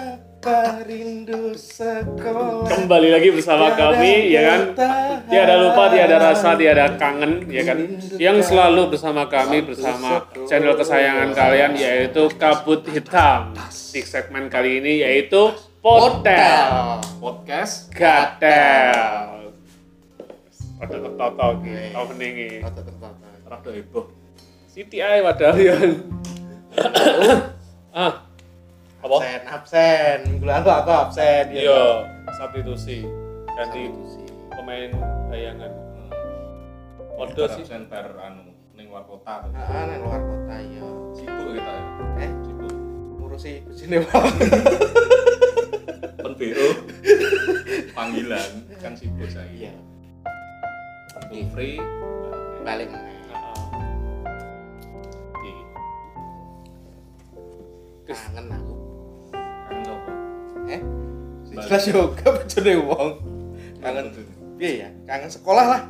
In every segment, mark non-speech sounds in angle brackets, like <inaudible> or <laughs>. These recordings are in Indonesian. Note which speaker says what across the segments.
Speaker 1: Betapa rindu sekolah
Speaker 2: Kembali lagi bersama kami, ya kan? Tiada lupa, tiada rasa, tiada kangen, ya kan? Yang selalu bersama kami, bersama channel kesayangan kalian, yaitu Kabut Hitam. Di segmen kali ini, yaitu Potel
Speaker 3: podcast
Speaker 2: Gatel. Ada tertoto gitu, opening ini.
Speaker 3: Tata tata rada heboh
Speaker 2: Siti ae padahal ya. <coughs> Ah, apa?
Speaker 1: absen absen minggu lalu aku absen ya kan?
Speaker 2: Iya, substitusi. Ganti pemain bayangan. Podo sih.
Speaker 3: center anu ning luar kota tuh.
Speaker 1: nah, nang luar kota ya
Speaker 3: sibuk kita ya
Speaker 1: eh
Speaker 3: sibuk
Speaker 1: ngurusi kucingnya
Speaker 2: <laughs>
Speaker 1: bang
Speaker 3: pen BO <laughs> panggilan kan sibuk saya
Speaker 1: iya
Speaker 3: Full free
Speaker 1: balik
Speaker 2: Ah,
Speaker 1: meneh. kangen
Speaker 3: di
Speaker 1: aku
Speaker 3: kan sopo
Speaker 1: eh
Speaker 3: Balik.
Speaker 1: jelas yoga <laughs> bojone wong kangen
Speaker 3: Kangen.
Speaker 1: iya ya kangen sekolah lah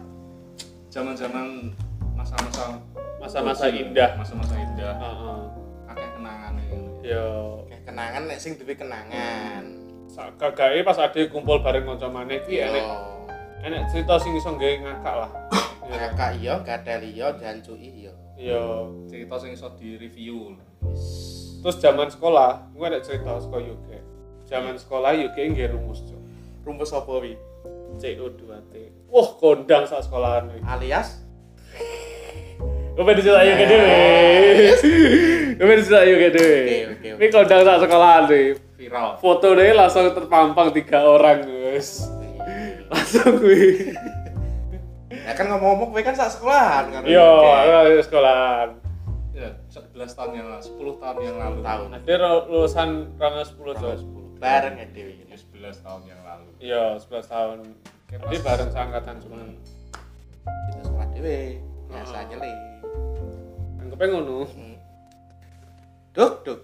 Speaker 3: zaman-zaman masa-masa
Speaker 1: Nah,
Speaker 2: Masa-masa indah.
Speaker 3: masa-masa indah
Speaker 2: Heeh.
Speaker 3: akeh kenangane
Speaker 2: Ya,
Speaker 1: Kayak kenangan nek sing duwe kenangan
Speaker 2: sak- kagake pas ade kumpul bareng kanca maneh
Speaker 1: Iya.
Speaker 2: kuwi enek enek cerita sing iso nggawe ngakak
Speaker 1: <laughs>
Speaker 2: lah. Ya.
Speaker 1: kakak iya gadel iya jancu iya
Speaker 2: Ya,
Speaker 3: cerita sing iso direview
Speaker 2: terus zaman sekolah, gue ada cerita sekolah Yuke. Zaman sekolah Yuke nggih rumus cok.
Speaker 1: rumpus apa wi
Speaker 2: CO2T. Wah, kondang sak sekolahan iki.
Speaker 1: alias
Speaker 2: Gue pengen cerita
Speaker 1: Nah.
Speaker 2: Yuke dhewe. Gue pengen cerita Yuke dhewe.
Speaker 1: Oke, oke, oke.
Speaker 2: Ini kondang sak sekolahan iki.
Speaker 3: viral
Speaker 2: Foto deh langsung terpampang tiga orang guys. Langsung gue.
Speaker 1: ya kan ngomong-ngomong gue kan saat sekolahan kan
Speaker 2: Yo, aku sekolahan.
Speaker 3: ya 11 tahun yang lalu 10 tahun yang lalu
Speaker 1: tahun
Speaker 2: Ada ro- Nah, lulusan rangas 10 tahun.
Speaker 1: bareng ya Dewi
Speaker 3: Ya, 11 tahun yang lalu <laughs>
Speaker 2: Iya, 11 tahun.
Speaker 3: Kayak
Speaker 2: Jadi
Speaker 3: pas-
Speaker 2: bareng seangkatan cuma.
Speaker 3: Hmm.
Speaker 1: kita sekolah Dewi biasanya li
Speaker 2: Anggapnya ngono.
Speaker 1: duk duk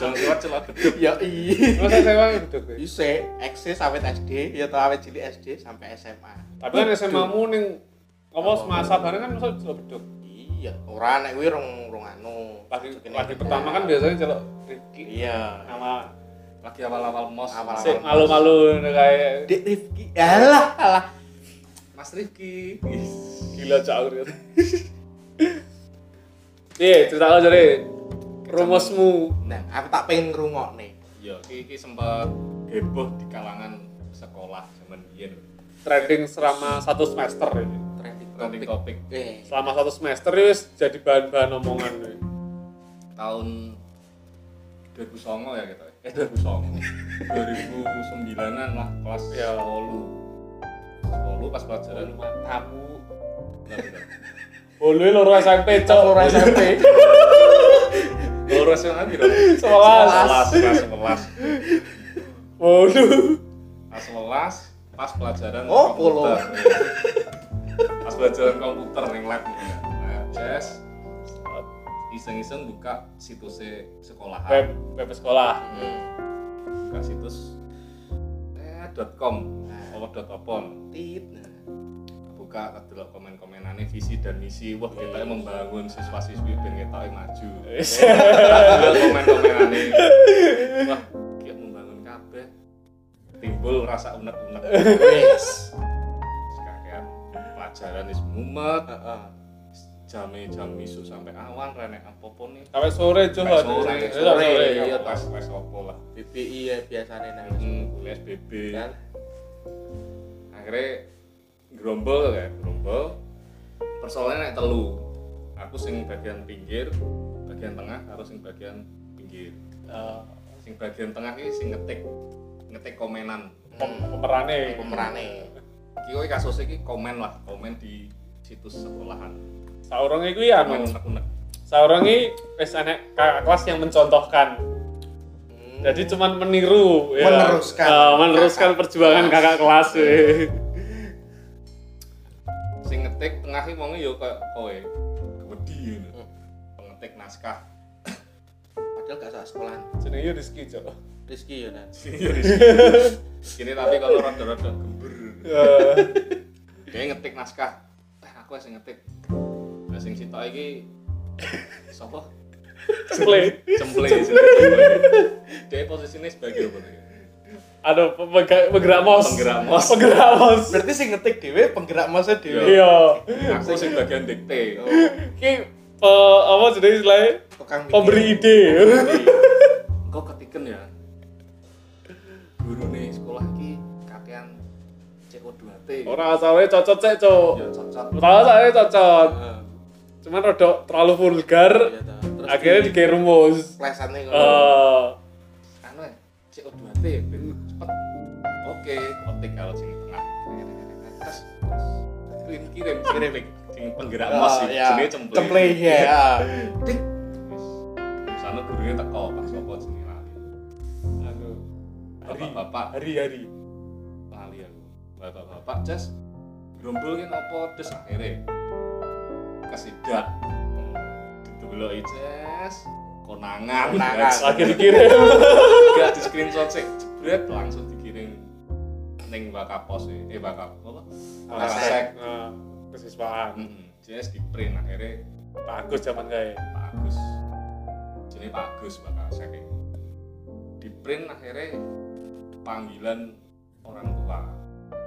Speaker 3: Jangan kuat celah gedung.
Speaker 1: <laughs> ya i
Speaker 2: Masa sewa itu gue.
Speaker 1: Ise, eksis awet SD, ya tau awet cilik SD sampai SMA.
Speaker 2: Tapi kan SMA mu ning apa semasa bareng kan masa celok beduk.
Speaker 1: Iya, ora nek kuwi rong rong anu.
Speaker 2: Lagi
Speaker 1: Cekene
Speaker 2: lagi
Speaker 1: kita.
Speaker 2: pertama kan biasanya celok Rifki
Speaker 1: Iya.
Speaker 2: sama
Speaker 3: Lagi awal-awal mos.
Speaker 1: Awal-awal.
Speaker 2: si malu-malu kayak
Speaker 1: Dek Rifki, alah alah.
Speaker 3: Mas Rifki.
Speaker 2: gila <laughs> cak Iya, cerita lo jadi rumusmu.
Speaker 1: Nah, aku tak pengen ngrungokne.
Speaker 3: Ya, iki iki sempat heboh di kalangan sekolah zaman biyen.
Speaker 2: Trending selama satu semester ini.
Speaker 1: Trending
Speaker 3: Trending
Speaker 1: topik.
Speaker 3: topik
Speaker 1: Eh,
Speaker 2: Selama satu semester ini wis jadi bahan-bahan omongan. ya. ini.
Speaker 3: tahun 2009 ya kita. Eh 2009. 2009-an lah kelas
Speaker 2: Ya.
Speaker 3: 8. 8 pas pelajaran
Speaker 2: Lalu matamu.
Speaker 3: Bentar, bentar.
Speaker 2: Bolu loro SMP cok.
Speaker 1: Loro SMP.
Speaker 3: Kalau rasional gitu.
Speaker 2: Sebelas.
Speaker 3: kelas kelas.
Speaker 2: Bolu.
Speaker 3: Pas kelas pas pelajaran
Speaker 1: Oh, polo.
Speaker 3: <laughs> Pas pelajaran komputer yang lab gitu. Nah, Jazz iseng-iseng buka situs sekolahan
Speaker 2: Web web sekolah.
Speaker 1: Hmm.
Speaker 3: buka situs eh, .com apa dot apon
Speaker 1: Tit.
Speaker 3: buka dulu komen-komenannya visi dan misi wah kita membangun siswa-siswi dan kita maju Delok komen-komenannya wah kita membangun kabeh timbul rasa unek-unek
Speaker 1: Wes.
Speaker 3: sekalian pelajaran is mumet
Speaker 1: Heeh.
Speaker 3: jame jam isu sampai awan renek apa pun nih
Speaker 2: Sampai sore cok.
Speaker 3: Sampai sore
Speaker 2: Sampai
Speaker 1: sore,
Speaker 2: sore.
Speaker 1: iya,
Speaker 3: iya
Speaker 1: toh.
Speaker 3: pas wes apa lah
Speaker 1: BPI ya biasane nang
Speaker 3: Hmm, kuliah SBB
Speaker 1: kan.
Speaker 3: akhirnya gerombol ya gerombol persoalannya naik telu aku sing bagian pinggir bagian tengah harus sing bagian pinggir
Speaker 2: Eh,
Speaker 3: sing bagian tengah ini sing ngetik ngetik komenan
Speaker 2: pem-
Speaker 1: Iya,
Speaker 2: Pemerane.
Speaker 1: Pemerane.
Speaker 3: kira kasus ini komen lah komen di situs sekolahan
Speaker 2: Saurang iku ya anu.
Speaker 3: komen unek unek
Speaker 2: Saurang iki wis enek kakak kelas yang mencontohkan.
Speaker 1: Hmm.
Speaker 2: Jadi cuman meniru ya.
Speaker 1: Meneruskan.
Speaker 2: Eh, meneruskan
Speaker 1: Kakak
Speaker 2: perjuangan
Speaker 1: kelas.
Speaker 2: kakak kelas. ya. weh.
Speaker 3: sing ngetik tengah ini wongnya yo kayak kowe kewedi ya pengetik naskah <laughs>
Speaker 1: padahal gak salah sekolahan.
Speaker 2: Jenenge Rizky cok.
Speaker 1: Rizky yo nan.
Speaker 3: gini tapi kalau rada-rada gember
Speaker 2: Eh,
Speaker 3: dia ngetik naskah eh aku sing ngetik nah sing sitok iki sapa
Speaker 2: Sele.
Speaker 3: cemple cemple. Dia posisinya sebagai apa nih?
Speaker 2: Aduh, pemega- Anu, penggerak mos.
Speaker 3: Penggerak mos.
Speaker 2: Penggerak mos.
Speaker 1: Berarti sing ngetik dhewe penggerak masa dhewe.
Speaker 2: Iya.
Speaker 3: Aku sing bagian dikte. Oh,
Speaker 2: Ki eh, apa jenis istilahnya?
Speaker 1: Tukang mikir.
Speaker 2: Pemberi ide.
Speaker 3: jadi, Engkau ketiken ya. Guru nih sekolah ki kakean CO2T.
Speaker 2: Orang asalnya cocot cek, Cok.
Speaker 3: Ya cocok.
Speaker 2: Orang asalnya cocot.
Speaker 1: Heeh.
Speaker 2: Cuman rada terlalu vulgar.
Speaker 1: Iya, toh. Terus
Speaker 2: Akhirnya
Speaker 1: di-
Speaker 2: dikira rumus.
Speaker 1: Lesane ngono.
Speaker 2: Eh,
Speaker 3: anu ya CO2T ben cepet oke otik kalau sing tengah terus kirim kirim kirim link sing penggerak
Speaker 1: Oh,
Speaker 3: mos sih
Speaker 1: ya.
Speaker 3: jenenge cemple
Speaker 1: Cemple ya.
Speaker 3: Dik. Wis. sana gurunya teko pas apa jenenge lali
Speaker 2: anu,
Speaker 3: bapak-bapak
Speaker 2: hari-hari.
Speaker 3: lali aku bapak-bapak jas grombol ki apa terus akhirnya kesidak diteloki jas konangan
Speaker 1: Konangan.
Speaker 2: Akhir kirim.
Speaker 3: gak di screenshot sih jebret langsung dikirim neng wakapos ya eh wakap apa wakasek
Speaker 2: Nah, kesiswaan.
Speaker 3: Mm-mm. jenis di print akhirnya
Speaker 2: Bagus zaman kae.
Speaker 3: Pak Agus jenis Pak Agus wakasek ya. di print akhirnya panggilan orang tua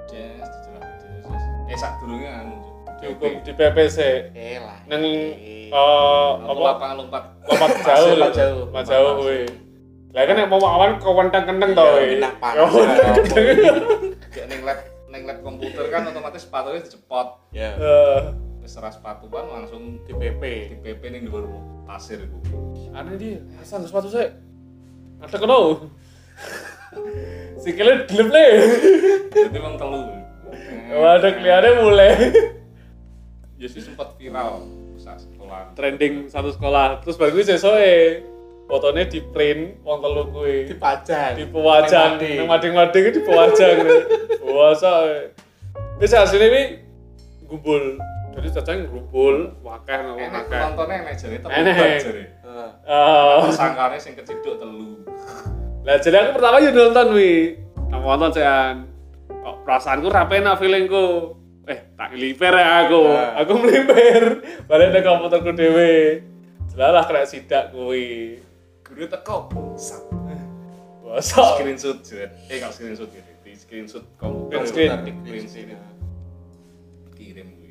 Speaker 3: jenis dijelas jenis jenis. eh sak durungnya anu
Speaker 2: Cukup di PPC.
Speaker 1: Eh lah.
Speaker 2: Neng
Speaker 1: Eh.
Speaker 2: eh,
Speaker 3: apa
Speaker 2: apa
Speaker 3: lapangan lompat
Speaker 2: lompat jauh
Speaker 1: Lompat jauh.
Speaker 2: lompat jauh kuwi lah kan yang mau awan kau kentang kentang tau
Speaker 1: Iya, pindah panas. Iya.
Speaker 3: kayak neng lab neng lab komputer kan otomatis sepatunya dicepot
Speaker 1: Ya.
Speaker 2: Eh,
Speaker 3: Wis serah sepatuan langsung
Speaker 1: Di PP.
Speaker 3: di PP ning dhuwur pasir iku
Speaker 2: aneh dia asal sepatu saya ada <laughs> kenal sikilnya gelap nih
Speaker 3: Jadi emang telu.
Speaker 2: waduh kelihatannya mulai <laughs>
Speaker 3: Ya sih sempat viral saat sekolah.
Speaker 2: trending satu sekolah terus baru gue sesoe fotonya di print wong telu kuwi
Speaker 1: Dipajang.
Speaker 2: di pewajang
Speaker 1: Neng
Speaker 2: nang mading-mading itu di pewajang puasa bisa eh. hasilnya ini gumpul jadi cacing gumpul wakah nang
Speaker 3: Enak
Speaker 2: wakah
Speaker 3: penontonnya enak jadi tapi
Speaker 2: Enak.
Speaker 3: bubar jadi.
Speaker 1: Heeh.
Speaker 2: Eh,
Speaker 3: Sangkarnya sing keciduk telu.
Speaker 2: Lah jadi aku pertama yo nonton wi. Nang nonton sean. Kok perasaanku ra penak feelingku. Eh, tak ngeliper ya aku.
Speaker 1: Nah.
Speaker 2: Aku meliper. Balik nang komputerku dhewe. Jelalah kena sidak kuwi.
Speaker 3: Guru teko. Sat.
Speaker 2: Bosok.
Speaker 3: Screenshot jadi. Eh kalau screenshot gitu. Di screenshot komputer.
Speaker 2: Print screen.
Speaker 3: Di print screen. Kirim gue.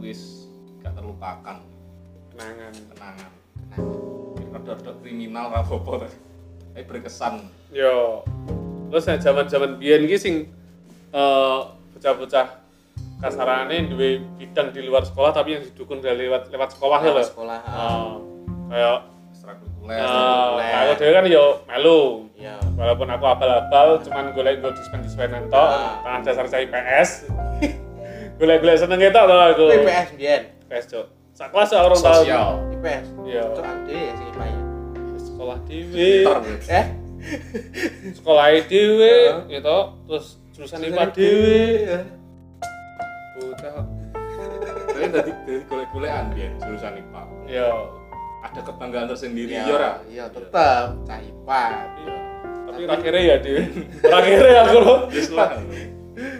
Speaker 3: Wis gak terlupakan
Speaker 2: Kenangan.
Speaker 3: kenangan. Kenangan. Rodok kriminal rapopo. Tapi berkesan.
Speaker 2: Yo. Terus nek jaman-jaman biyen ki sing eh bocah-bocah kasarane duwe bidang di luar sekolah tapi yang didukung dari lewat lewat sekolah ya lho.
Speaker 1: Lewat sekolah, ah, ha.
Speaker 2: Oh. Kayak
Speaker 3: Ekstrakurikuler.
Speaker 2: eh, aku dhewe kan yo melu.
Speaker 1: Ya.
Speaker 2: walaupun aku abal-abal cuman golek gue dispen dispenan tok
Speaker 1: Ah.
Speaker 2: tangan dasar saya IPS <laughs> golek-golek seneng itu tau aku
Speaker 1: IPS biyen.
Speaker 2: IPS cok sak kelas sak orang tau
Speaker 3: Sosial.
Speaker 1: IPS.
Speaker 2: Iya.
Speaker 1: Cok ade sing IPA ya.
Speaker 2: sekolah dewe
Speaker 3: Pinter.
Speaker 1: Eh,
Speaker 2: sekolah dewe
Speaker 1: Ah.
Speaker 2: gitu terus jurusan IPA
Speaker 1: Jurusan
Speaker 2: dewe
Speaker 1: ya.
Speaker 2: bocah
Speaker 3: Tapi tadi dari golek-golekan biar jurusan IPA.
Speaker 2: ya
Speaker 3: Ada kebanggaan tersendiri
Speaker 1: Iya,
Speaker 3: ya ora?
Speaker 1: Iya, tetep cah IPA.
Speaker 3: Iya.
Speaker 2: tapi akhirnya ya <laughs> dewe akhirnya aku loh
Speaker 3: Wis lah.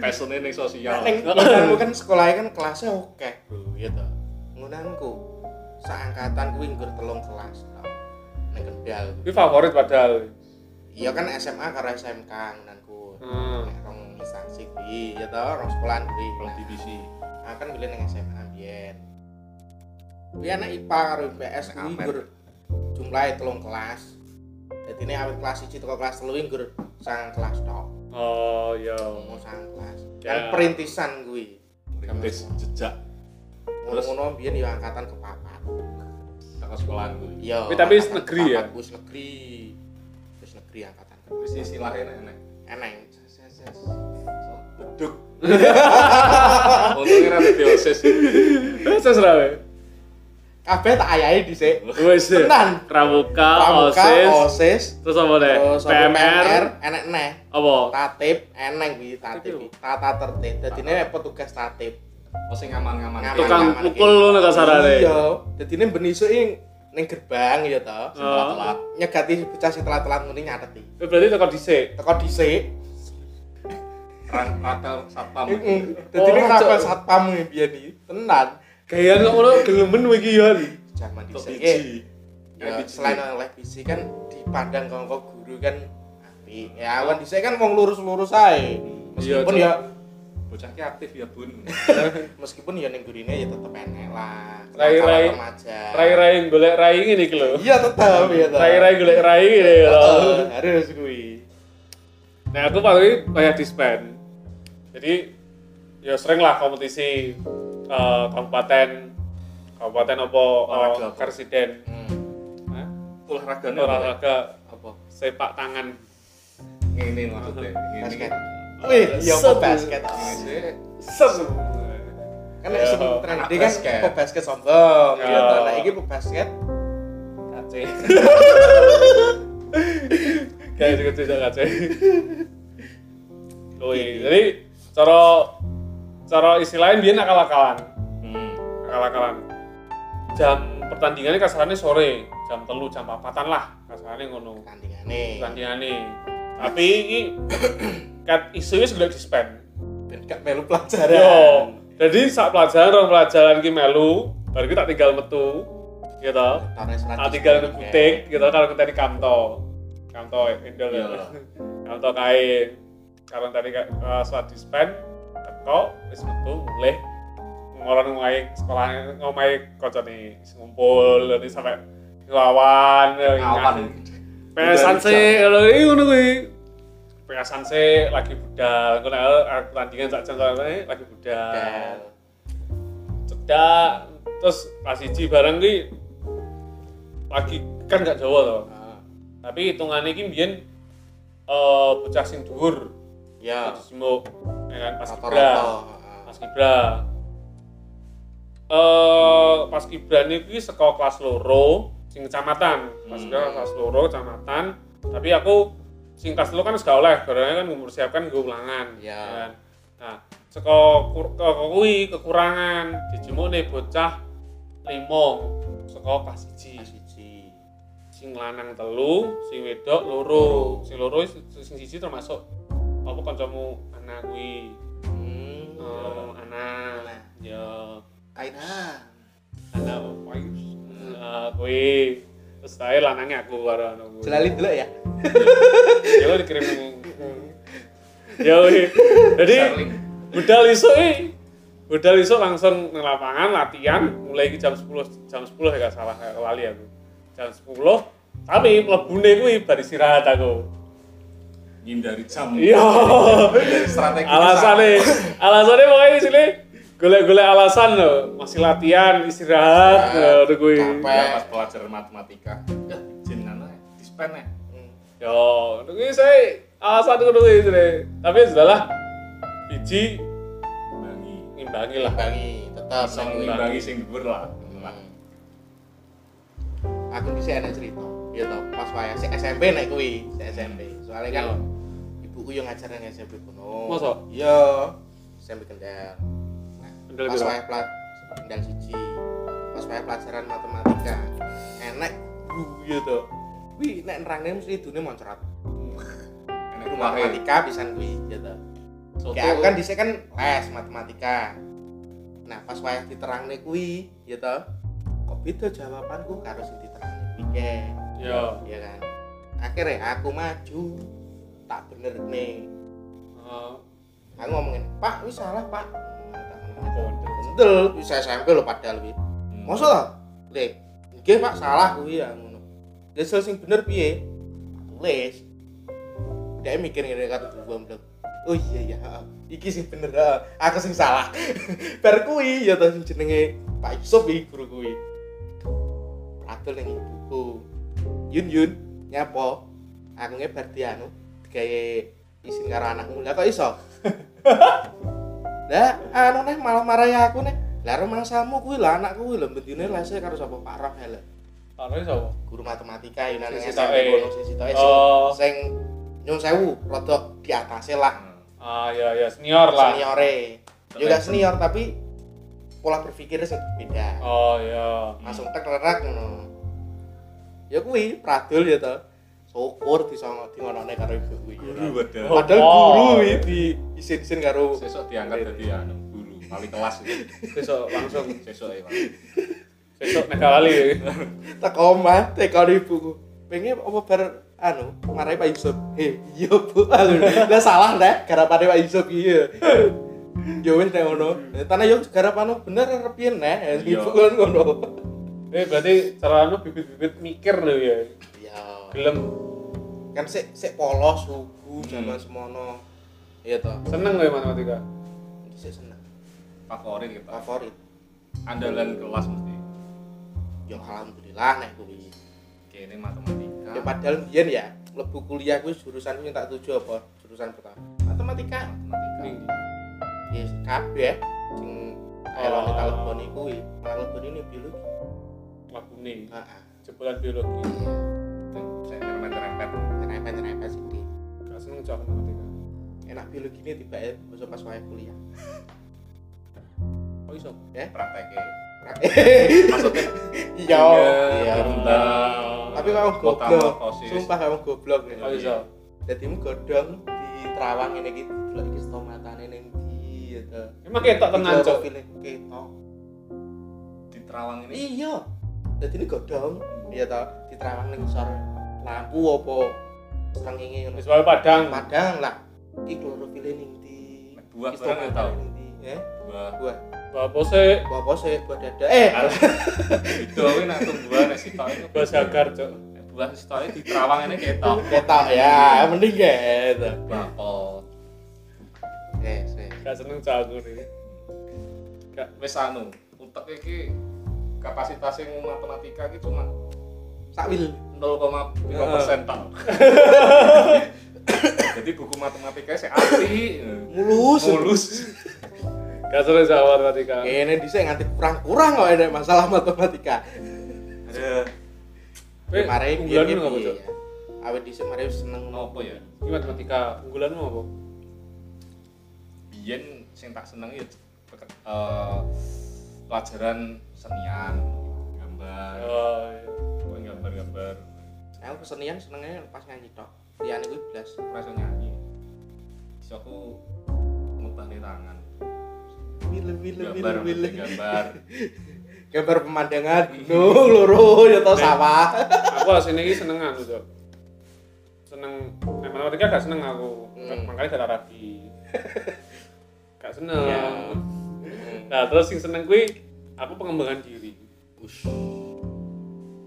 Speaker 3: Passionnya ning sosial.
Speaker 1: Neng ngonanku kan sekolahnya kan kelasnya oke, Bro, ya toh. Ngonanku seangkatan kuwi nggur telung kelas. tau. Neng Kendal.
Speaker 2: ini favorit padahal
Speaker 1: Iya kan SMA karo SMK ngonanku.
Speaker 2: Hmm.
Speaker 1: Nek Rong instansi kuwi ya toh, rong sekolahan kuwi.
Speaker 3: Belum divisi.
Speaker 1: Nah, kan milih neng SMA biyen. Kuwi anak IPA karo IPS kuwi
Speaker 3: Amet.
Speaker 1: nggur jumlahe telung kelas. Jadi ini awet kelas 1 teko kelas 3 nggur sang kelas tok.
Speaker 2: oh ya
Speaker 1: Mau sang kelas.
Speaker 2: Ya.
Speaker 1: Kan perintisan kuwi.
Speaker 3: Rintis jejak Terus?
Speaker 1: ngono-ngono biyen ya angkatan kepapat
Speaker 3: kakak sekolahan gue.
Speaker 1: iya
Speaker 2: Tapi- tapi
Speaker 1: angkatan
Speaker 2: negeri ya?
Speaker 1: kepapat, wis negeri wis negeri angkatan kepapat.
Speaker 3: Wis istilahnya enak enak.
Speaker 1: eneng
Speaker 3: Beduk. Ah. Untungnya kan rada diosis.
Speaker 2: saya serawe
Speaker 1: kabeh tak ayahi dhisik
Speaker 2: wes
Speaker 1: Tenan.
Speaker 2: pramuka
Speaker 1: pramuka
Speaker 2: Ah, osis Eh,
Speaker 1: osis
Speaker 2: terus apa deh
Speaker 1: terus apa,
Speaker 2: PMR
Speaker 1: enek neh
Speaker 2: apa
Speaker 1: tatip eneng kuwi tatip
Speaker 2: Tatip.
Speaker 1: tata tertib dadi ini petugas tatip
Speaker 3: Oh sing aman-aman.
Speaker 1: Ngaman.
Speaker 2: tukang
Speaker 1: aman,
Speaker 2: pukul lo nggak sarare
Speaker 1: iya dadi ini ben isuk ing ning gerbang ya to
Speaker 2: Eh,
Speaker 3: Telat.
Speaker 1: nyegati bocah sing telat-telat ngene nyateti
Speaker 2: berarti tekan dhisik
Speaker 1: teko dhisik
Speaker 3: Rang rapel satpam.
Speaker 1: heeh dadi ini
Speaker 2: Oh,
Speaker 1: rapel
Speaker 2: cok.
Speaker 1: satpam biyen iki tenan
Speaker 2: gayaan kok ngono gelemen ya. iki yon
Speaker 1: zaman di
Speaker 3: Untuk
Speaker 1: sini
Speaker 3: biji.
Speaker 1: ya,
Speaker 3: Kayak biji.
Speaker 1: selain oleh biji kan dipandang kongko guru kan api ya awan di sini kan mau lurus-lurus aja meskipun
Speaker 3: Iya,
Speaker 1: ya
Speaker 3: bocahnya aktif ya bun
Speaker 1: meskipun ya ning gurine ya tetep enek lah
Speaker 2: Rai-rai.
Speaker 1: Kawan remaja
Speaker 2: Rai-rai golek rai ini gitu loh.
Speaker 1: iya tetep ya toh.
Speaker 2: Rai-rai golek rai ini
Speaker 1: Heeh,
Speaker 2: loh.
Speaker 1: harus kuwi
Speaker 2: Nah aku paling banyak dispen. Jadi ya sering lah kompetisi eh, kabupaten kabupaten apa
Speaker 3: Olahraga
Speaker 2: eh,
Speaker 3: apa?
Speaker 2: presiden
Speaker 1: Hmm.
Speaker 2: Hah?
Speaker 3: olahraganya apa?
Speaker 2: olahraga
Speaker 3: apa
Speaker 2: sepak tangan
Speaker 3: ini maksudnya ini
Speaker 1: Basket. wih iya
Speaker 2: Set.
Speaker 1: kok basket toh.
Speaker 3: Ini sih,
Speaker 2: seru
Speaker 1: kan nek sing
Speaker 2: Iya.
Speaker 1: trendy
Speaker 3: Anak
Speaker 1: kan
Speaker 3: basket.
Speaker 1: pop basket sombong
Speaker 2: Iya.
Speaker 1: ya toh. nah iki pop basket
Speaker 2: kace kayak gitu, juga tidak kace Wih, Oh, iya, jadi cara cara istilah lain dia nakal-nakalan
Speaker 3: hmm,
Speaker 2: nakal-nakalan jam pertandingannya kasarannya sore jam telu jam papatan lah kasarannya ngono
Speaker 1: tandingane
Speaker 2: pertandingannya tapi ini kat isunya sudah dispen
Speaker 1: ben gak melu pelajaran
Speaker 2: Yo, jadi saat pelajaran orang pelajaran ki melu, baru kita tinggal metu, gitu.
Speaker 1: Tone
Speaker 2: Tak
Speaker 1: seratus
Speaker 2: tinggal
Speaker 1: kayak.
Speaker 2: ngekutik, gitu. Kalau kita di kanto, kanto endol,
Speaker 3: Iya.
Speaker 2: <laughs> kanto kain. Kalau tadi uh, saat dispen, teko, wis metu, mulai ngolong ngomai sekolah ngomai kocok nih ngumpul nanti sampai lawan eh,
Speaker 3: awan
Speaker 2: Pesan sih, lo ini ngono kuwi. Pesan sih lagi budal, ngono aku pertandingan sak jam sak jam, lagi budal.
Speaker 1: Dan-
Speaker 2: Cedak terus pas siji bareng ki lagi kan gak Jawa to.
Speaker 1: Ah,
Speaker 2: Tapi hitungannya ki mbiyen eh bocah sing dhuwur
Speaker 1: ya
Speaker 2: terus jemuk ya kan pas kibra.
Speaker 1: rata-rata
Speaker 2: Iya. Pas kibra. Eh pas kibra niki saka kelas loro sing kecamatan. Pas
Speaker 3: Hmm.
Speaker 2: kibra kelas loro kecamatan. Tapi aku sing kelas loro kan wis gak oleh, karena kan ngumur siapkan gue ulangan.
Speaker 1: Ya.
Speaker 2: kan. Nah, saka kur- ke ke- kuwi kekurangan dijemuk nih bocah limo saka kelas 1
Speaker 1: siji
Speaker 2: sing lanang telu, sing wedok loro. Sing loro is- sing siji termasuk apa kancamu anak kuwi.
Speaker 1: Hmm.
Speaker 2: Oh, anak.
Speaker 1: Anak.
Speaker 2: Ya,
Speaker 1: kainan
Speaker 2: anak wayus. Eh, kowe terus tae lanange aku karo anak kowe.
Speaker 1: jelali dulu
Speaker 2: Iya.
Speaker 1: ya
Speaker 2: Ya kowe dikirim. Ya kowe. Jadi
Speaker 3: Saling.
Speaker 2: budal isuk e budal isuk langsung nang lapangan latihan mulai iki jam 10 jam 10 ya gak salah kayak lali aku. Jam 10 tapi mlebune kuwi bar istirahat aku.
Speaker 3: ngindari jam
Speaker 2: Iya.
Speaker 3: Ngindari strategi
Speaker 2: alasannya alasannya pokoknya di sini golek-golek alasan loh masih latihan istirahat
Speaker 1: Istirahat,
Speaker 2: aduh gue
Speaker 1: capek.
Speaker 3: Ya, pas pelajaran matematika ya jen nana dispen ya
Speaker 2: yo aduh gue saya alasan itu dulu sini tapi ya sudahlah biji
Speaker 3: bangi
Speaker 2: ngimbangi lah
Speaker 1: bangi tetap
Speaker 3: bisa mengimbangi sing dhuwur lah
Speaker 1: Hmm.
Speaker 3: Lah,
Speaker 1: aku bisa enak cerita ya toh pas wayah si SMP naik kuwi si SMP soalnya kan
Speaker 2: Iya.
Speaker 1: ibuku yang ngajar nang SMP kuno
Speaker 2: Masa?
Speaker 1: iya SMP kendal Nah,
Speaker 2: Kendal
Speaker 1: pas
Speaker 2: piro?
Speaker 1: wayah plat kendal siji pas wayah pelajaran matematika uh, enak
Speaker 2: iya tuh
Speaker 1: wih nek nerangne mesti dunia moncrat
Speaker 3: enek wahe.
Speaker 1: matematika pisan kuwi ya toh
Speaker 3: Soto.
Speaker 1: Kayak aku kan dhisik kan les matematika. Nah, pas wayah diterangne kuwi, ya toh. Kok beda jawabanku karo sing diterangne kuwi kek,
Speaker 2: yo
Speaker 1: ya kan. Akhirnya aku maju tak bener nih.
Speaker 2: Ah,
Speaker 1: Aku ngomongin, "Pak, wis salah, Pak." Hmm, Kendel, bisa SMP lho padahal kuwi.
Speaker 3: Hmm.
Speaker 1: Mosok ta? Le, nggih Pak, salah kuwi ya ngono. Lah sel sing bener piye? Tulis. Dia mikir ngene karo goblok. Oh iya iya, heeh. iki sing bener, heeh. aku sing salah. <laughs> Bar kuwi ya to sing jenenge Pak Yusuf iki guru kuwi. Atul ning ibuku. Yun Yun, nyapa? Aku nge bar di anu digawe isin karo anakmu. Lah kok iso? Lah anu neh malah marahi aku neh. Lah remangsamu kuwi lah anak kuwi lho bendine lese karo sapa Pak Rafael.
Speaker 2: taruhnya Anu siapa
Speaker 1: Guru matematika Yunan sing
Speaker 2: Sing sitoke.
Speaker 1: SMP kono sing sitoke sing-
Speaker 2: Oh.
Speaker 1: sing nyun sewu rada di atase lah
Speaker 2: ah ya ya senior lah
Speaker 1: seniore. Juga senior tapi pola berpikirnya sing beda.
Speaker 2: oh ya
Speaker 1: langsung tek rerak ngono. Ya kuwi pradul ya to. Syukur disongo dingonone karo ibu kuwi. ya
Speaker 3: guru
Speaker 1: toh.
Speaker 3: wadah
Speaker 1: Padahal
Speaker 2: Oh.
Speaker 1: guru kuwi di isin-isin karo
Speaker 3: sesuk diangkat dadi anu guru wali kelas itu
Speaker 2: besok langsung
Speaker 3: sesuk ya Pak.
Speaker 2: besok nek lali
Speaker 1: teko omah teko ibuku pengen apa bar anu marai Pak Yusuf he iya bu anu lah salah nek garapane Pak Yusuf iya yo wis nek ngono Eh, tanah yo garapane bener arep piye nek
Speaker 3: Iya.
Speaker 1: ibu kan ngono
Speaker 2: eh berarti cara lu bibit-bibit mikir lo ya
Speaker 1: iya
Speaker 2: gelem
Speaker 1: kan sik sik polos lugu zaman semono iya toh
Speaker 2: seneng lo ya matematika
Speaker 1: sik seneng
Speaker 3: favorit kita
Speaker 1: favorit
Speaker 3: andalan kelas mesti
Speaker 1: yo Ya, alhamdulillah nek kuwi
Speaker 3: kene matematika
Speaker 1: ya padahal biyen ya lebu kuliah kuwi jurusan yang tak tuju apa jurusan pertama matematika
Speaker 3: matematika
Speaker 1: ya kabeh sing elone tak leboni kuwi tak leboni ya. ini Ah, biologi
Speaker 2: lagu nih
Speaker 1: heeh
Speaker 2: jebolan biologi
Speaker 3: saya rempet-rempet
Speaker 1: terempet terempet sih
Speaker 2: gak seneng cok matematika
Speaker 1: enak biologi ini tiba ya besok pas wae kuliah
Speaker 2: oh iso
Speaker 3: prakteknya
Speaker 1: maksudnya iya iya tapi kamu goblok sumpah kamu goblok ya
Speaker 2: oh iso
Speaker 1: jadi kamu godong di terawang ini gitu dulu ini stomatane ini gitu
Speaker 2: emang ketok tenan cok
Speaker 1: ketok
Speaker 3: di terawang ini
Speaker 1: iya jadi ini godong iya tau di terawang ini ngisor lampu apa serang ini
Speaker 2: wis wae padang
Speaker 1: padang lah ini klorofilnya ini di
Speaker 3: buah barang ya tau
Speaker 1: ya
Speaker 3: buah
Speaker 1: buah
Speaker 2: bapak pose
Speaker 1: buah apa sih buah dada eh
Speaker 3: itu aku nak tuh buah nasi tau itu
Speaker 2: gak sagar cok
Speaker 3: buah nasi tau di terawang ini ketok
Speaker 1: ketok ya mending gitu
Speaker 3: bakol
Speaker 1: eh sih
Speaker 2: gak seneng cok aku nih
Speaker 3: wes anu utek iki kapasitasnya matematika iki cuma
Speaker 1: sakwil
Speaker 3: 0,5 persen tau jadi buku matematika saya asli
Speaker 1: mulus
Speaker 3: mulus
Speaker 2: gak seneng cok matematika
Speaker 1: ini dhisik nganti kurang-kurang kok ada masalah matematika
Speaker 3: ada
Speaker 2: Eh,
Speaker 1: kemarin dia
Speaker 2: unggulanmu apa cok
Speaker 1: awet dhisik mari seneng
Speaker 3: apa ya
Speaker 2: ini matematika unggulanmu apa
Speaker 3: biyen sing tak senengi ya peke- eh, pelajaran senian gambar
Speaker 2: oh iya.
Speaker 3: pokoknya gambar-gambar
Speaker 1: aku kesenian senengnya pas nyanyi tok liyane kuwi blas
Speaker 3: rasa nyanyi bisa aku ngubah tangan
Speaker 1: wile wile wile
Speaker 3: gambar
Speaker 1: wile
Speaker 3: mesti gambar
Speaker 1: gambar pemandangan gunung loro ya tau sawah
Speaker 2: aku aslinya ini seneng aku cok seneng eh, matematika gak seneng aku
Speaker 1: Hmm.
Speaker 2: makanya gak tak rapi
Speaker 1: <laughs>
Speaker 2: gak seneng
Speaker 1: Iya.
Speaker 3: Hmm.
Speaker 1: <laughs>
Speaker 2: nah terus yang seneng gue aku pengembangan diri
Speaker 1: Ush.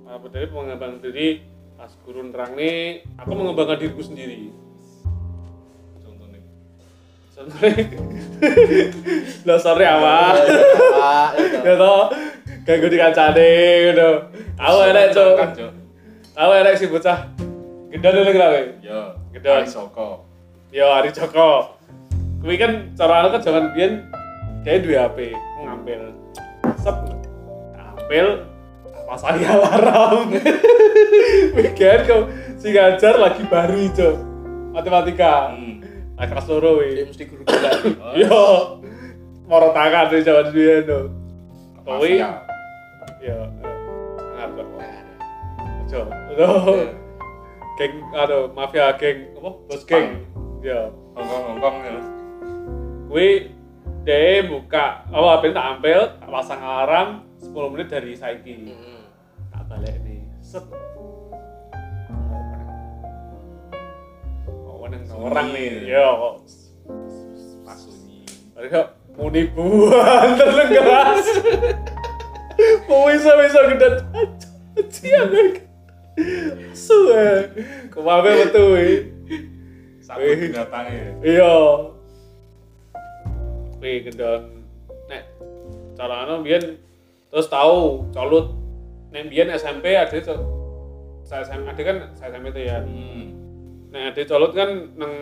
Speaker 2: aku dari pengembangan diri pas guru terang nih aku mengembangkan diriku sendiri
Speaker 3: contohnya
Speaker 2: sebenarnya <laughs> dasarnya awal
Speaker 1: Ya Sawah, ya toh.
Speaker 2: ya toh ganggu di kancane gitu aku enak cok
Speaker 3: Kan, Cok.
Speaker 2: aku enak sih bocah gede dulu kira
Speaker 3: ya
Speaker 2: Gedor.
Speaker 3: Ali Soko
Speaker 2: Yo Ya, Ari Joko. Kuwi kan cara aku kan jangan biyen dia duwe HP ngambil. Sep ambil apa saya <laughs> alarm. Weekend kau si ngajar lagi bari cok. Matematika.
Speaker 3: hmm.
Speaker 2: Nah, kelas loro
Speaker 1: Dia
Speaker 2: we.
Speaker 1: mesti guru
Speaker 3: <coughs>
Speaker 1: gila
Speaker 3: Eh,
Speaker 2: Yo moro tangan di jaman biyen to. Kowe-
Speaker 3: Pascal.
Speaker 2: Yo. eh, Sangat kok.
Speaker 1: Nah,
Speaker 2: Cok. Lo. Geng aduh mafia geng apa? Bos geng. Yo.
Speaker 3: Hongkong Hongkong ya
Speaker 2: gue deh buka oh HP tak ambil tak pasang alarm 10 menit dari saiki
Speaker 1: mm.
Speaker 2: tak balik nih set oh neng
Speaker 3: Sunyi.
Speaker 2: orang nih yo
Speaker 3: Pak Sunyi
Speaker 2: mereka muni buan <laughs> terus keras mau bisa bisa gede cian suwe kemabe betul
Speaker 3: satu
Speaker 2: Wih.
Speaker 3: binatang ya
Speaker 2: iya kuwi gendon nek carane biyen terus tahu colut nek biyen SMP ada itu saya SMP ada kan saya SMP itu ya
Speaker 3: hmm.
Speaker 2: nek ada colut kan neng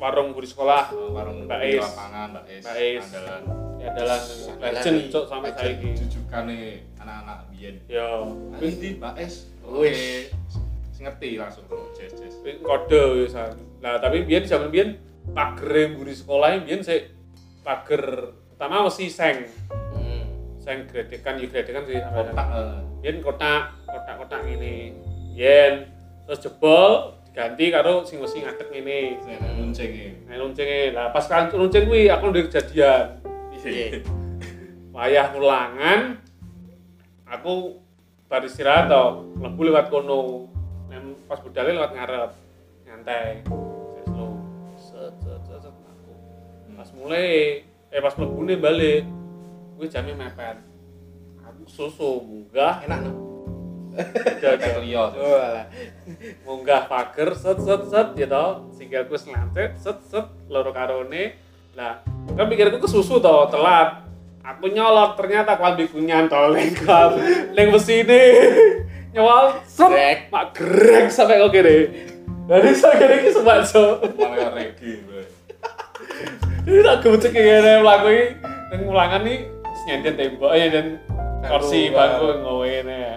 Speaker 2: warung guru sekolah
Speaker 3: warung
Speaker 2: Mbak
Speaker 3: di
Speaker 2: Is.
Speaker 3: lapangan Mbak Is
Speaker 2: Mbak Is.
Speaker 3: andalan
Speaker 2: ya adalah legend cok sampai saiki Iya.
Speaker 3: jujukane anak-anak biyen
Speaker 2: yo
Speaker 3: Ayo
Speaker 2: kuwi
Speaker 3: di Mbak Is oke
Speaker 1: Wih.
Speaker 3: ngerti langsung Oh, bro jazz jazz
Speaker 2: kuwi kode wisan nah tapi biyen zaman biyen pager guru sekolah biyen sik pager pertama mesti seng
Speaker 1: Mm.
Speaker 2: seng gredekan yuk gredekan sih sampai saiki.
Speaker 3: kotak eh,
Speaker 2: yen kotak kotak kotak ini yen terus jebol diganti karo sing mesti ngadeg ngene
Speaker 3: saya ada lonceng ya
Speaker 2: nah luncinge lah pas kan luncing kuwi aku ndek kejadian
Speaker 1: Iya.
Speaker 2: wayah ulangan aku bar istirahat toh mlebu lewat kono nem pas budale lewat ngarep nyantai saya slow set set set, set aku pas mulai eh pas mlebu nih balik gue jamnya mepet aku susu munggah
Speaker 1: enak no
Speaker 2: dadah
Speaker 3: Lihat.
Speaker 1: walah
Speaker 2: munggah pager set set set ya tau singgalku selantet set set loro karone lah kan pikirku ke susu tau telat aku nyolot ternyata kalbiku <laughs> nyantol lengkap leng ini nyawal
Speaker 1: Grek.
Speaker 2: set mak grek sampai kok gini dari sakit ini sempat so
Speaker 3: Malah regi gue.
Speaker 2: ini tak kebucek kayak gini melaku ini yang ulangan nih terus nyendet tembok ya dan kursi
Speaker 1: Bangku,
Speaker 2: bangku ngowen ya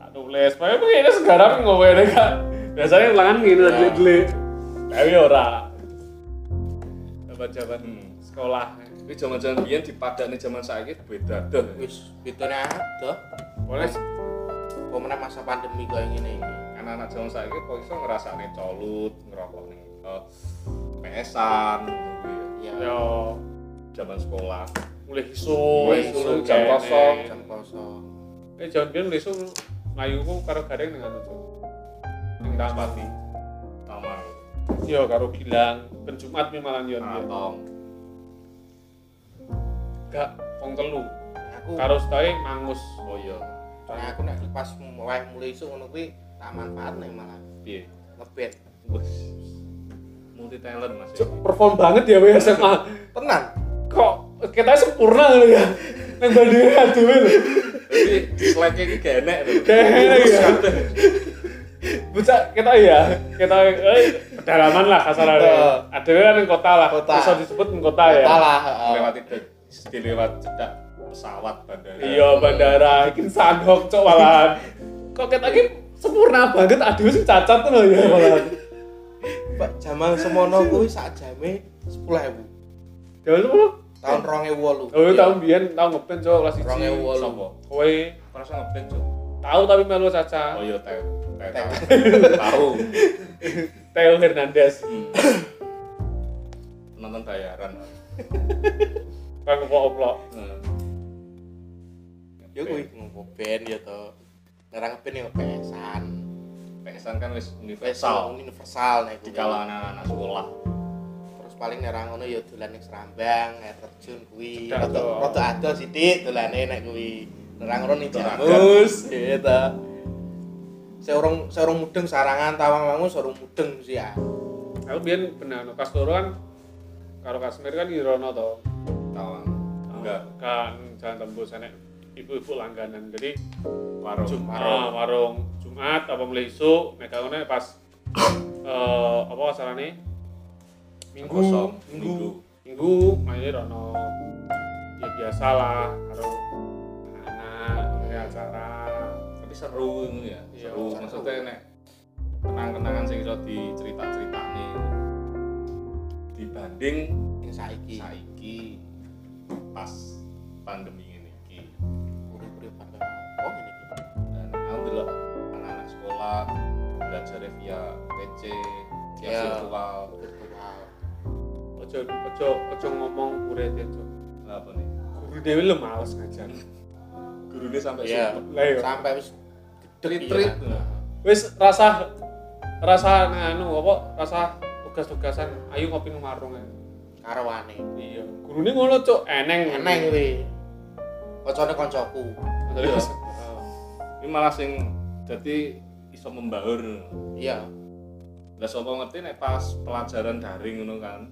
Speaker 2: tak tulis pokoknya begini sekarang ngowen ya kak biasanya ulangan gini
Speaker 3: Ya.
Speaker 2: lagi deli tapi ora jabat-jabat
Speaker 3: Hmm.
Speaker 2: sekolah
Speaker 3: Ini zaman-zaman biyen dipadakne zaman saiki beda dah.
Speaker 1: wis bedone ada
Speaker 2: boleh
Speaker 1: pemenang masa pandemi kayak gini ini
Speaker 3: Anak-anak zaman saiki kok iso ngrasakne colut, ngerokok ning eh, PS-an ngono kuwi ya.
Speaker 1: ya
Speaker 2: yo
Speaker 3: zaman sekolah.
Speaker 2: mulai isu
Speaker 3: Mulai isu, jam kosong.
Speaker 1: jam kosong
Speaker 2: eh jam biar mulai isu layuku karo garing dengan itu yang rapati
Speaker 3: Taman
Speaker 2: yo Iya, karo bilang ben Jumat mi malah yo
Speaker 3: Atong.
Speaker 2: gak wong telu
Speaker 1: aku
Speaker 2: karo setahe mangus
Speaker 3: Oh iya.
Speaker 1: nah aku nek pas mulai mulai isu ngono kuwi tak manfaat nih malah
Speaker 3: Piye?
Speaker 1: ngeband
Speaker 3: Wes. Multi talent Mas.
Speaker 2: Cuk, perform banget ya wes SMA
Speaker 1: tenang
Speaker 2: kok kita sempurna gitu ya yang bandingnya gak duwe lho
Speaker 3: Tapi slide-nya iki gak enek lho.
Speaker 2: kayaknya ya Bucak kita ya kita eh, pedalaman lah kasarannya
Speaker 1: Betul.
Speaker 2: ada kan yang kota lah
Speaker 1: Kota.
Speaker 2: bisa disebut yang kota ya
Speaker 1: kalah heeh.
Speaker 3: Lewati dek- dilewat cedak pesawat bandara.
Speaker 2: iya bandara ini sandok cok malahan kok kita ini sempurna banget aduh sih cacat tuh lho ya malahan
Speaker 1: Pak Jamal semono kuwi sak jame 10.000
Speaker 2: ya lu
Speaker 1: tahun 2008
Speaker 2: oh iya tahun bian tahun ngepen cok kelas 1
Speaker 3: Sopo?
Speaker 1: 2008
Speaker 2: kowe
Speaker 3: Merasa ngeband, Cuk.
Speaker 2: tahu tapi melu caca
Speaker 3: Oh iya, tahu.
Speaker 1: Tahu.
Speaker 3: <laughs> Tahu.
Speaker 2: Theo Hernandez
Speaker 3: Hmm. Nonton bayaran.
Speaker 2: Bang oplok
Speaker 3: Nah,
Speaker 1: ya kuwi ngopo band ya to ngerang ngeband ya pesan
Speaker 3: PSan kan wis
Speaker 1: pesan
Speaker 3: universal
Speaker 1: universal nek
Speaker 3: di kalangan anak-anak sekolah.
Speaker 1: terus paling nerang ngono ya dolan ning Serambang, air terjun kuwi.
Speaker 2: Rada
Speaker 1: Rada
Speaker 2: ado.
Speaker 1: rada ado sithik dolane nek kuwi. Nerang ngono ning
Speaker 3: Nerang.
Speaker 1: <laughs> Jamus gitu. Seorang seorang mudeng sarangan tawang-wangun seorang mudeng sih ya.
Speaker 2: aku biar benar no kas loro kan karo kasmir kan irono to
Speaker 3: Tawang. Enggak.
Speaker 2: kan jalan tembus enek ibu-ibu langganan jadi
Speaker 3: Warung.
Speaker 2: ah, warung Jumat apa mulai isu megangone pas eh apa asalane minggu
Speaker 3: Kosong. Minggu.
Speaker 2: minggu minggu main irono ya biasa lah karo anak kayak acara
Speaker 3: Tapi seru ngono ya.
Speaker 2: Iya,
Speaker 3: Seru.
Speaker 1: seru.
Speaker 3: Maksudnya nek kenang-kenangan sing iso dicerita-ceritani dibanding
Speaker 1: Yang saiki.
Speaker 3: saiki pas pandemi ini iki.
Speaker 1: Urip-urip pada opo ngene iki.
Speaker 3: Dan alhamdulillah anak-anak sekolah belajar via PC, via
Speaker 1: Iya.
Speaker 3: virtual.
Speaker 1: Virtual.
Speaker 2: ojo ojo ojo ngomong gure ojo
Speaker 3: Lah apa nih?
Speaker 2: guru dewi lu males ngajar
Speaker 3: Gurunya sampai
Speaker 1: Iya.
Speaker 3: sumpah.
Speaker 2: lah yo
Speaker 1: Sampai wis
Speaker 3: Trit-trit.
Speaker 1: Iya.
Speaker 2: wis rasa rasa anu apa rasa tugas-tugasan ayo ngopi nang warung ae.
Speaker 1: karwane.
Speaker 2: iya gurune ngono cuk eneng
Speaker 1: Eneng kuwi. Kocone kancaku.
Speaker 2: Jadi,
Speaker 3: Iya.
Speaker 2: pas-
Speaker 3: Ini malah sing jadi iso membaur.
Speaker 1: Iya.
Speaker 3: Lah sapa ngerti nek pas pelajaran daring ngono kan.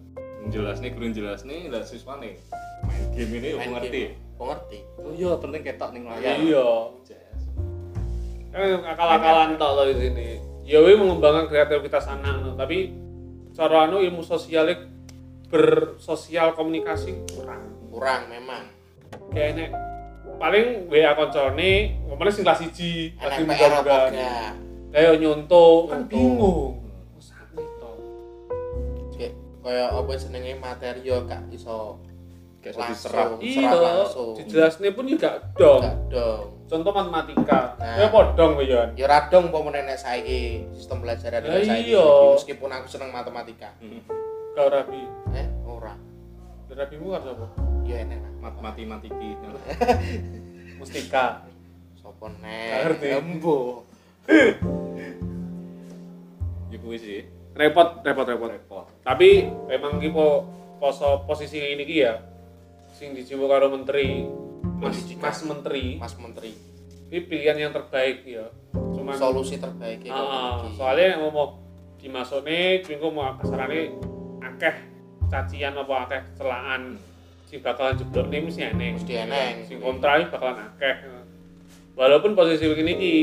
Speaker 3: Jelas nih, guru jelas nih, lah siswa nih main game ini
Speaker 1: main
Speaker 3: aku ngerti.
Speaker 1: game. Aku ngerti.
Speaker 3: Oh iya, penting ketok ning layar.
Speaker 2: iya
Speaker 3: Jazz.
Speaker 2: kan akal-akalan tok lo di sini ya we mengembangkan kreativitas anak no. tapi cara anu ilmu sosialnya bersosial komunikasi kurang
Speaker 1: Kurang memang.
Speaker 2: kayak enek paling WA koncone ngomongnya sing kelas 1 kelas
Speaker 1: Enak PR apa
Speaker 2: 3
Speaker 1: enggak?
Speaker 2: kayak nyontoh kan
Speaker 1: Nyontoh.
Speaker 2: bingung Oh, sakit toh
Speaker 1: kayak kayak apa senenge materi yo gak iso
Speaker 3: Kayak
Speaker 1: langsung,
Speaker 3: diserap.
Speaker 2: Iya,
Speaker 1: serap langsung
Speaker 2: dijelasnya pun juga dong.
Speaker 1: gak dong
Speaker 2: Contoh matematika,
Speaker 1: Nah.
Speaker 2: ya podong kowe Yon.
Speaker 1: ya radong apa nenek saiki sistem belajar
Speaker 2: Lah
Speaker 1: dari saiki
Speaker 2: iya.
Speaker 1: iki, meskipun aku seneng matematika
Speaker 3: Hmm.
Speaker 2: Kau rabi,
Speaker 1: eh ora
Speaker 2: rabimu kan apa?
Speaker 1: ya enak lah
Speaker 3: Mat mati mati
Speaker 2: Mustika.
Speaker 1: Sopo
Speaker 3: Gak
Speaker 1: nek?
Speaker 3: ngerti.
Speaker 1: Embo.
Speaker 3: ya kuwi sih
Speaker 2: repot repot repot
Speaker 3: repot
Speaker 2: tapi emang iki po poso posisi ini ki ya sing dijiwa karo menteri mas,
Speaker 1: Pendidikan.
Speaker 2: mas menteri
Speaker 1: Mas Menteri.
Speaker 2: ini pilihan yang terbaik ya cuman
Speaker 1: Solusi terbaik ya.
Speaker 2: Ah,
Speaker 1: Kang Iki.
Speaker 2: soalnya yang mau dimasukne cungko mau ah, kasarane akeh cacian apa akeh celaan si bakalan jeblok nih mesti eneng
Speaker 1: Mesti eneng.
Speaker 2: si kontra ini bakalan akeh walaupun posisi begini ki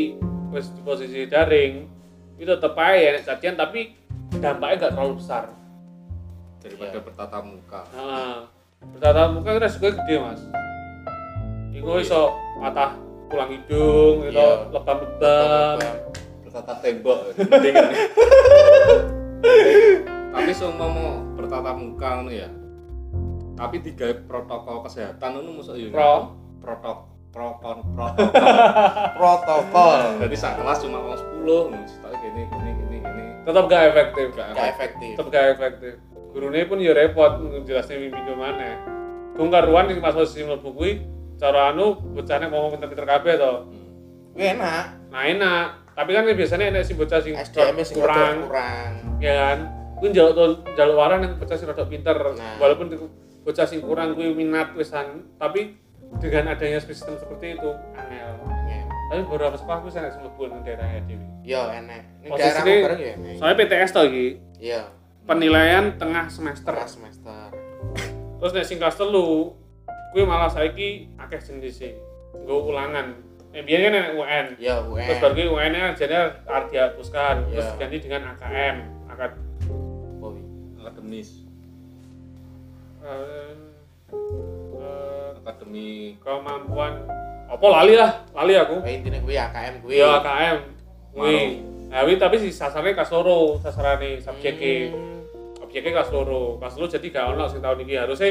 Speaker 2: wis di posisi daring itu tetep aja enek cacian tapi dampaknya nggak terlalu besar
Speaker 3: daripada
Speaker 1: Iya.
Speaker 3: bertata muka
Speaker 2: nah, bertatap muka kan resikonya gede mas Iku iso patah tulang hidung, itu
Speaker 1: Iya.
Speaker 2: lebam-lebam,
Speaker 3: bertata tembok penting kan? tapi semua mau bertata muka ngono ya tapi tiga protokol kesehatan itu musuh ya
Speaker 2: Pro.
Speaker 3: protok prokon protokol
Speaker 1: Protokol.
Speaker 3: jadi sak kelas cuma orang sepuluh tapi gini gini gini gini
Speaker 2: tetap gak efektif.
Speaker 3: gak
Speaker 1: Gak
Speaker 3: efektif
Speaker 1: efektif.
Speaker 2: tetep gak efektif gurunya pun ya repot ngejelasin mimpi kemana gue karuan yang pas posisi mlebu kuwi cara anu bocahnya ngomong pinter-pinter kabeh to
Speaker 3: Hmm.
Speaker 1: Wih, enak.
Speaker 2: nah enak tapi kan biasanya enak si bocah sing
Speaker 1: SDM sing
Speaker 2: kurang
Speaker 1: kurang. kurang.
Speaker 2: ya kan gue jaluk tuh jaluk waran yang bocah sing rada pinter
Speaker 1: Nah.
Speaker 2: walaupun di- bocah sing kurang gue minat wisan tapi dengan adanya sistem seperti itu angel
Speaker 1: Ya.
Speaker 2: tapi beberapa sekolah gue sangat sembuh di daerahnya dewi
Speaker 1: Yo enak. Ini
Speaker 2: Posisi
Speaker 1: daerah
Speaker 2: ini-
Speaker 1: bareng ya enak.
Speaker 2: soalnya PTS tuh iki
Speaker 1: Iya.
Speaker 2: penilaian tengah semester
Speaker 1: Tengah semester.
Speaker 2: terus nek sing kelas telu kuwi malah saiki akeh jenisnya gue ulangan yang biasanya kan nek UN
Speaker 1: Yo
Speaker 2: terus
Speaker 1: UN.
Speaker 2: baru kuwi UN nya jadinya harus dihapuskan terus
Speaker 1: Iya.
Speaker 2: ganti dengan AKM akad
Speaker 1: Oh,
Speaker 3: akademis
Speaker 2: eh, eh,
Speaker 3: akademi
Speaker 2: kemampuan apa lali lah lali aku
Speaker 1: Kayak intinya gue AKM gue.
Speaker 2: ya AKM
Speaker 3: Mau.
Speaker 2: kuwi nah, kuwi tapi si sasarnya kelas loro sasarane subjeknya
Speaker 1: Hmm.
Speaker 2: objeknya kelas loro kelas loro jadi gak ono sing tahun ini harusnya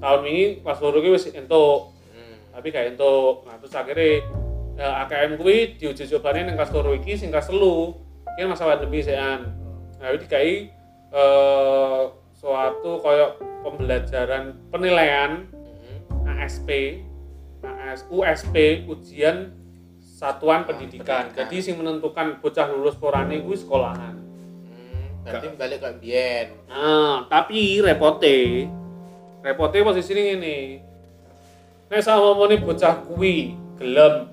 Speaker 2: tahun ini kelas loro kuwi wis entuk
Speaker 1: Hmm.
Speaker 2: tapi gak entuk nah terus akhirnya eh, AKM kuwi diuji cobane nang kelas loro iki sing kelas telu iki kan masa pandemi sean nah iki kayak eh, suatu koyok pembelajaran penilaian
Speaker 1: Hmm.
Speaker 2: ASP AS, USP ujian satuan pendidikan.
Speaker 1: pendidikan.
Speaker 2: jadi sing menentukan bocah lulus porane kuwi sekolahan
Speaker 1: Hmm. Berarti balik ke Bien.
Speaker 2: Nah, tapi repote repote posisi ini ngene. Nek sama mau bocah kuwi gelem,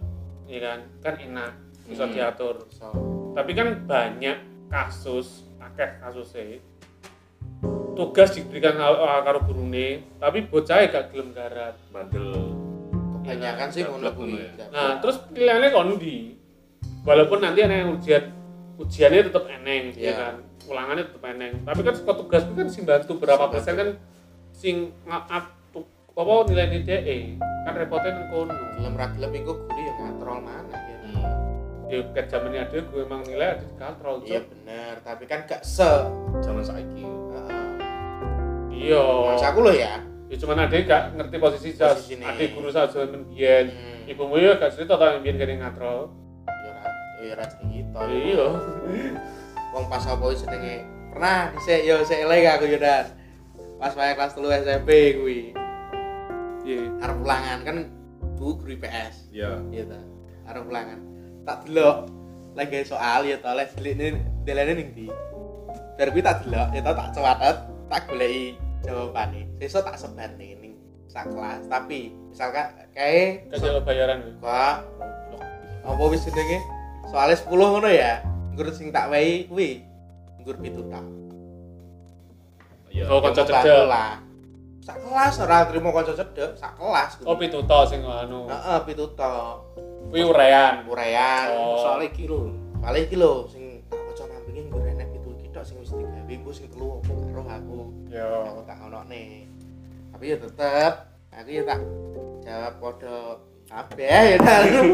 Speaker 2: ya kan? Kan enak bisa
Speaker 3: Hmm.
Speaker 2: diatur.
Speaker 1: So,
Speaker 2: Tapi kan banyak kasus, akeh kasusnya tugas diberikan hal- ah, karo gurune, tapi bocah gak gelem garap.
Speaker 3: bandel
Speaker 1: kebanyakan
Speaker 2: Iya,
Speaker 1: sih ngono
Speaker 3: Gablok
Speaker 1: kuwi.
Speaker 3: ngono ya.
Speaker 2: Nah, terus pilihannya kondi. Walaupun nanti ada yang ujian ujiannya tetap eneng, ya
Speaker 1: Iya.
Speaker 2: kan? Ulangannya tetap eneng. Tapi kan sekolah tugas itu kan sing bantu berapa
Speaker 1: Sing
Speaker 2: persen
Speaker 1: bantu.
Speaker 2: kan sing ngap apa nilai nilai DE kan repotnya nang kono.
Speaker 1: Gelem ra gelem iku guru ya ngatrol mana ya.
Speaker 3: Hmm.
Speaker 2: Ya kejamannya ada gue emang nilai ada di kontrol
Speaker 1: Iya
Speaker 2: Cuk.
Speaker 1: bener, tapi kan gak se.
Speaker 3: zaman saiki
Speaker 1: Heeh.
Speaker 2: Iya.
Speaker 1: Masa aku lo ya.
Speaker 2: Ya cuman ada gak ngerti posisi jas.
Speaker 1: Posisi ini.
Speaker 2: Ada guru saja menbiyen.
Speaker 1: Hmm.
Speaker 2: Ibumu ya gak cerita tau menbiyen gak ada yang ngatrol.
Speaker 1: Ya ra- ya ra cerita.
Speaker 2: Ya Iya.
Speaker 1: Wong pas apa wis jenenge pernah dhisik yo sik eling aku yo Dan. Pas wae kelas 3 SMP kuwi.
Speaker 2: Iya.
Speaker 1: Arep ulangan kan bu guru IPS.
Speaker 3: ya
Speaker 1: Iya ta. Arep ulangan. Tak delok lek gawe soal ya ta les delikne delene ning ndi. Bar kuwi tak delok ya ta tak cewatet, tak goleki jawabane. Sesuk tak sebarne ning sak kelas. Tapi misalkan kae
Speaker 2: Kasih bayaran. gue.
Speaker 1: Kak, apa wis jenenge? Soale 10 ngono ya. Nggur sing tak wehi kuwi. Nggur pitu tak.
Speaker 3: ya
Speaker 2: Oh, kanca
Speaker 1: Ya,
Speaker 2: cedek.
Speaker 1: membantu lah. Sak kelas ora trimo kanca cedek, sak kelas.
Speaker 2: Oh pituto sing anu.
Speaker 1: Heeh, pitu tok.
Speaker 2: Kuwi urean.
Speaker 1: Urean.
Speaker 2: Oh.
Speaker 3: soalnya iki lho
Speaker 1: Soale iki lho sing tak waca mampinge nggur enek pitu iki tok sing wis digawe engko sing telu apa karo aku. Aku
Speaker 2: Yo.
Speaker 1: tak onokne. Tapi ya tetep aku ya tak jawab podo kabeh ya tak lho.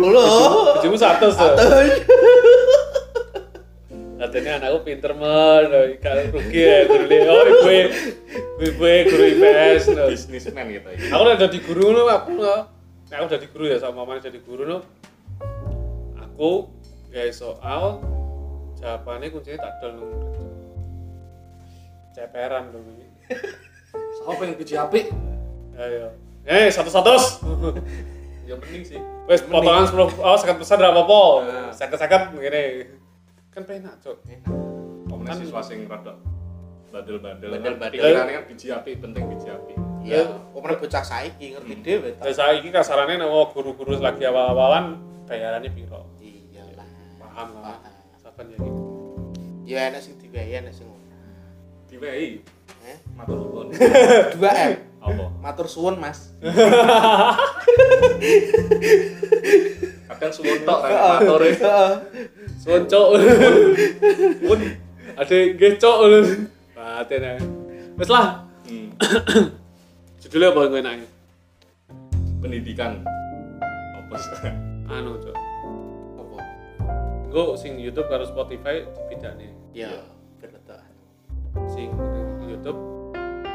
Speaker 2: Bujumu satu so.
Speaker 1: Atus.
Speaker 2: Katanya anakku pinter men, kalau rugi ya guru dia. Oh gue, gue gue guru IPS no.
Speaker 3: bisnismen gitu ya
Speaker 2: Aku udah jadi guru no, aku no. Nah, aku jadi guru ya sama mama jadi guru no. Aku ya guys soal jawabannya kuncinya tak dol nunggu. Ceperan dong ini.
Speaker 3: Siapa yang biji apik?
Speaker 2: Ayo. Eh satu satu.
Speaker 3: ya penting sih
Speaker 2: Wes potongan 10 oh 50 persen ora apa-apa.
Speaker 3: Nah.
Speaker 2: 50-50 ngene. Kan penak, Cuk.
Speaker 3: Komennya siswa sing rada Kan bandel-bandel kan
Speaker 4: Bandel-bandel.
Speaker 3: pikirannya kan biji api penting biji api
Speaker 1: Iya, omongnya bocah saiki ngerti dhewe ta.
Speaker 2: Terus saiki kasarane nek mau guru-guru lagi awal-awalan bayarannya piro?
Speaker 1: Iyalah.
Speaker 2: Paham lah.
Speaker 1: Paham.
Speaker 2: Saben ya iki.
Speaker 1: Ya enak sing dibayar enak sing ora.
Speaker 3: diwei
Speaker 1: Eh?
Speaker 3: matur nuwun <laughs>
Speaker 1: 2M.
Speaker 3: apa
Speaker 1: Matur suwun, Mas.
Speaker 3: kadang suwun <laughs> tok kan matur ya.
Speaker 1: Heeh.
Speaker 2: Suwun, Cuk. Mun ade nggih, Cuk. Paten ae. Wes lah.
Speaker 3: Hmm,
Speaker 2: Judulnya apa yang enaknya?
Speaker 3: pendidikan apa sih
Speaker 2: Anu, Cuk.
Speaker 1: Apa?
Speaker 2: Gue sing YouTube karo Spotify dibedakne.
Speaker 1: Ya, bener ta.
Speaker 2: sing di YouTube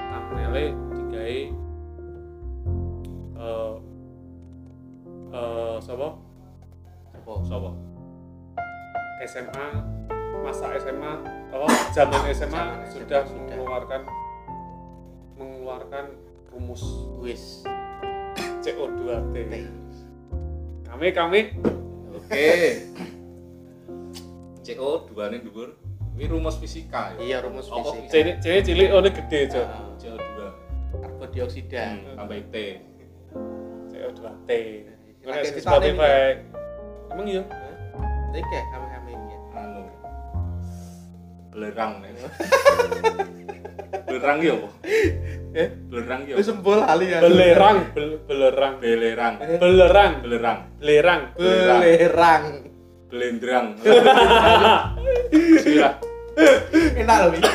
Speaker 2: thumbnail digawe eh eh sapa
Speaker 1: Apa?
Speaker 3: sapa
Speaker 2: SMA masa SMA apa zaman SMA
Speaker 1: Zaman
Speaker 2: sudah
Speaker 1: SMA, sudah.
Speaker 2: mengeluarkan mengeluarkan rumus
Speaker 1: Wis.
Speaker 2: CO2T.
Speaker 1: Teh.
Speaker 2: Kami kami
Speaker 3: oke CO 2 nih dhuwur ini rumus fisika ya
Speaker 1: Iya, rumus
Speaker 3: Apa?
Speaker 1: fisika.
Speaker 2: cilik cilik cilik oleh gede aja
Speaker 1: Heeh.
Speaker 3: CO 2
Speaker 1: Karbon dioksida.
Speaker 3: Hmm, tambah T
Speaker 2: CO2T.
Speaker 1: Lagi
Speaker 2: Nggak
Speaker 1: di
Speaker 2: Spotify. Emang iya?
Speaker 1: Tapi kayak kami-kami ini.
Speaker 3: anu belerang nih belerang ya apa?
Speaker 1: Eh?
Speaker 3: belerang ya
Speaker 1: Lu sembol kali ya.
Speaker 2: Belerang, bel- belerang,
Speaker 3: belerang
Speaker 2: belerang,
Speaker 3: belerang
Speaker 2: <laughs> belerang.
Speaker 1: Belerang.
Speaker 3: belendrang
Speaker 2: Bismillah.
Speaker 1: Enak loh ini.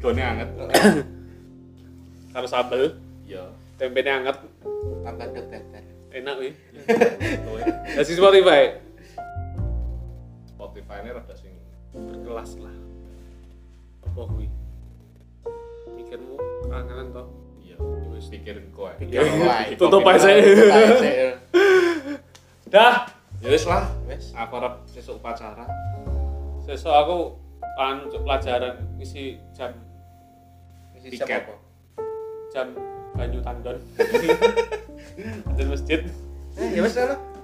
Speaker 3: gone anget
Speaker 2: Harus sambel,
Speaker 3: ya
Speaker 2: tempenya anget,
Speaker 1: Tambah deg-degan.
Speaker 2: enak wih.
Speaker 3: kowe
Speaker 2: Dari Spotify.
Speaker 3: Spotify ini rada sing
Speaker 2: Berkelas lah. Apa wih? Mikirmu kangenan toh?
Speaker 3: iya wis pikirin kowe
Speaker 1: Pikir Ya wae.
Speaker 2: Tutup aja saya.
Speaker 1: Baik, saya.
Speaker 2: Dah.
Speaker 3: ya wis lah
Speaker 1: Wes.
Speaker 3: aku arep sesuk upacara
Speaker 2: Sesuk aku anu untuk pelajaran isi jam
Speaker 1: Isi
Speaker 3: Tiket.
Speaker 1: siapa, Pak?
Speaker 2: <laughs> jam Banyu Tandon. Di masjid.
Speaker 1: Eh, ya wes lah.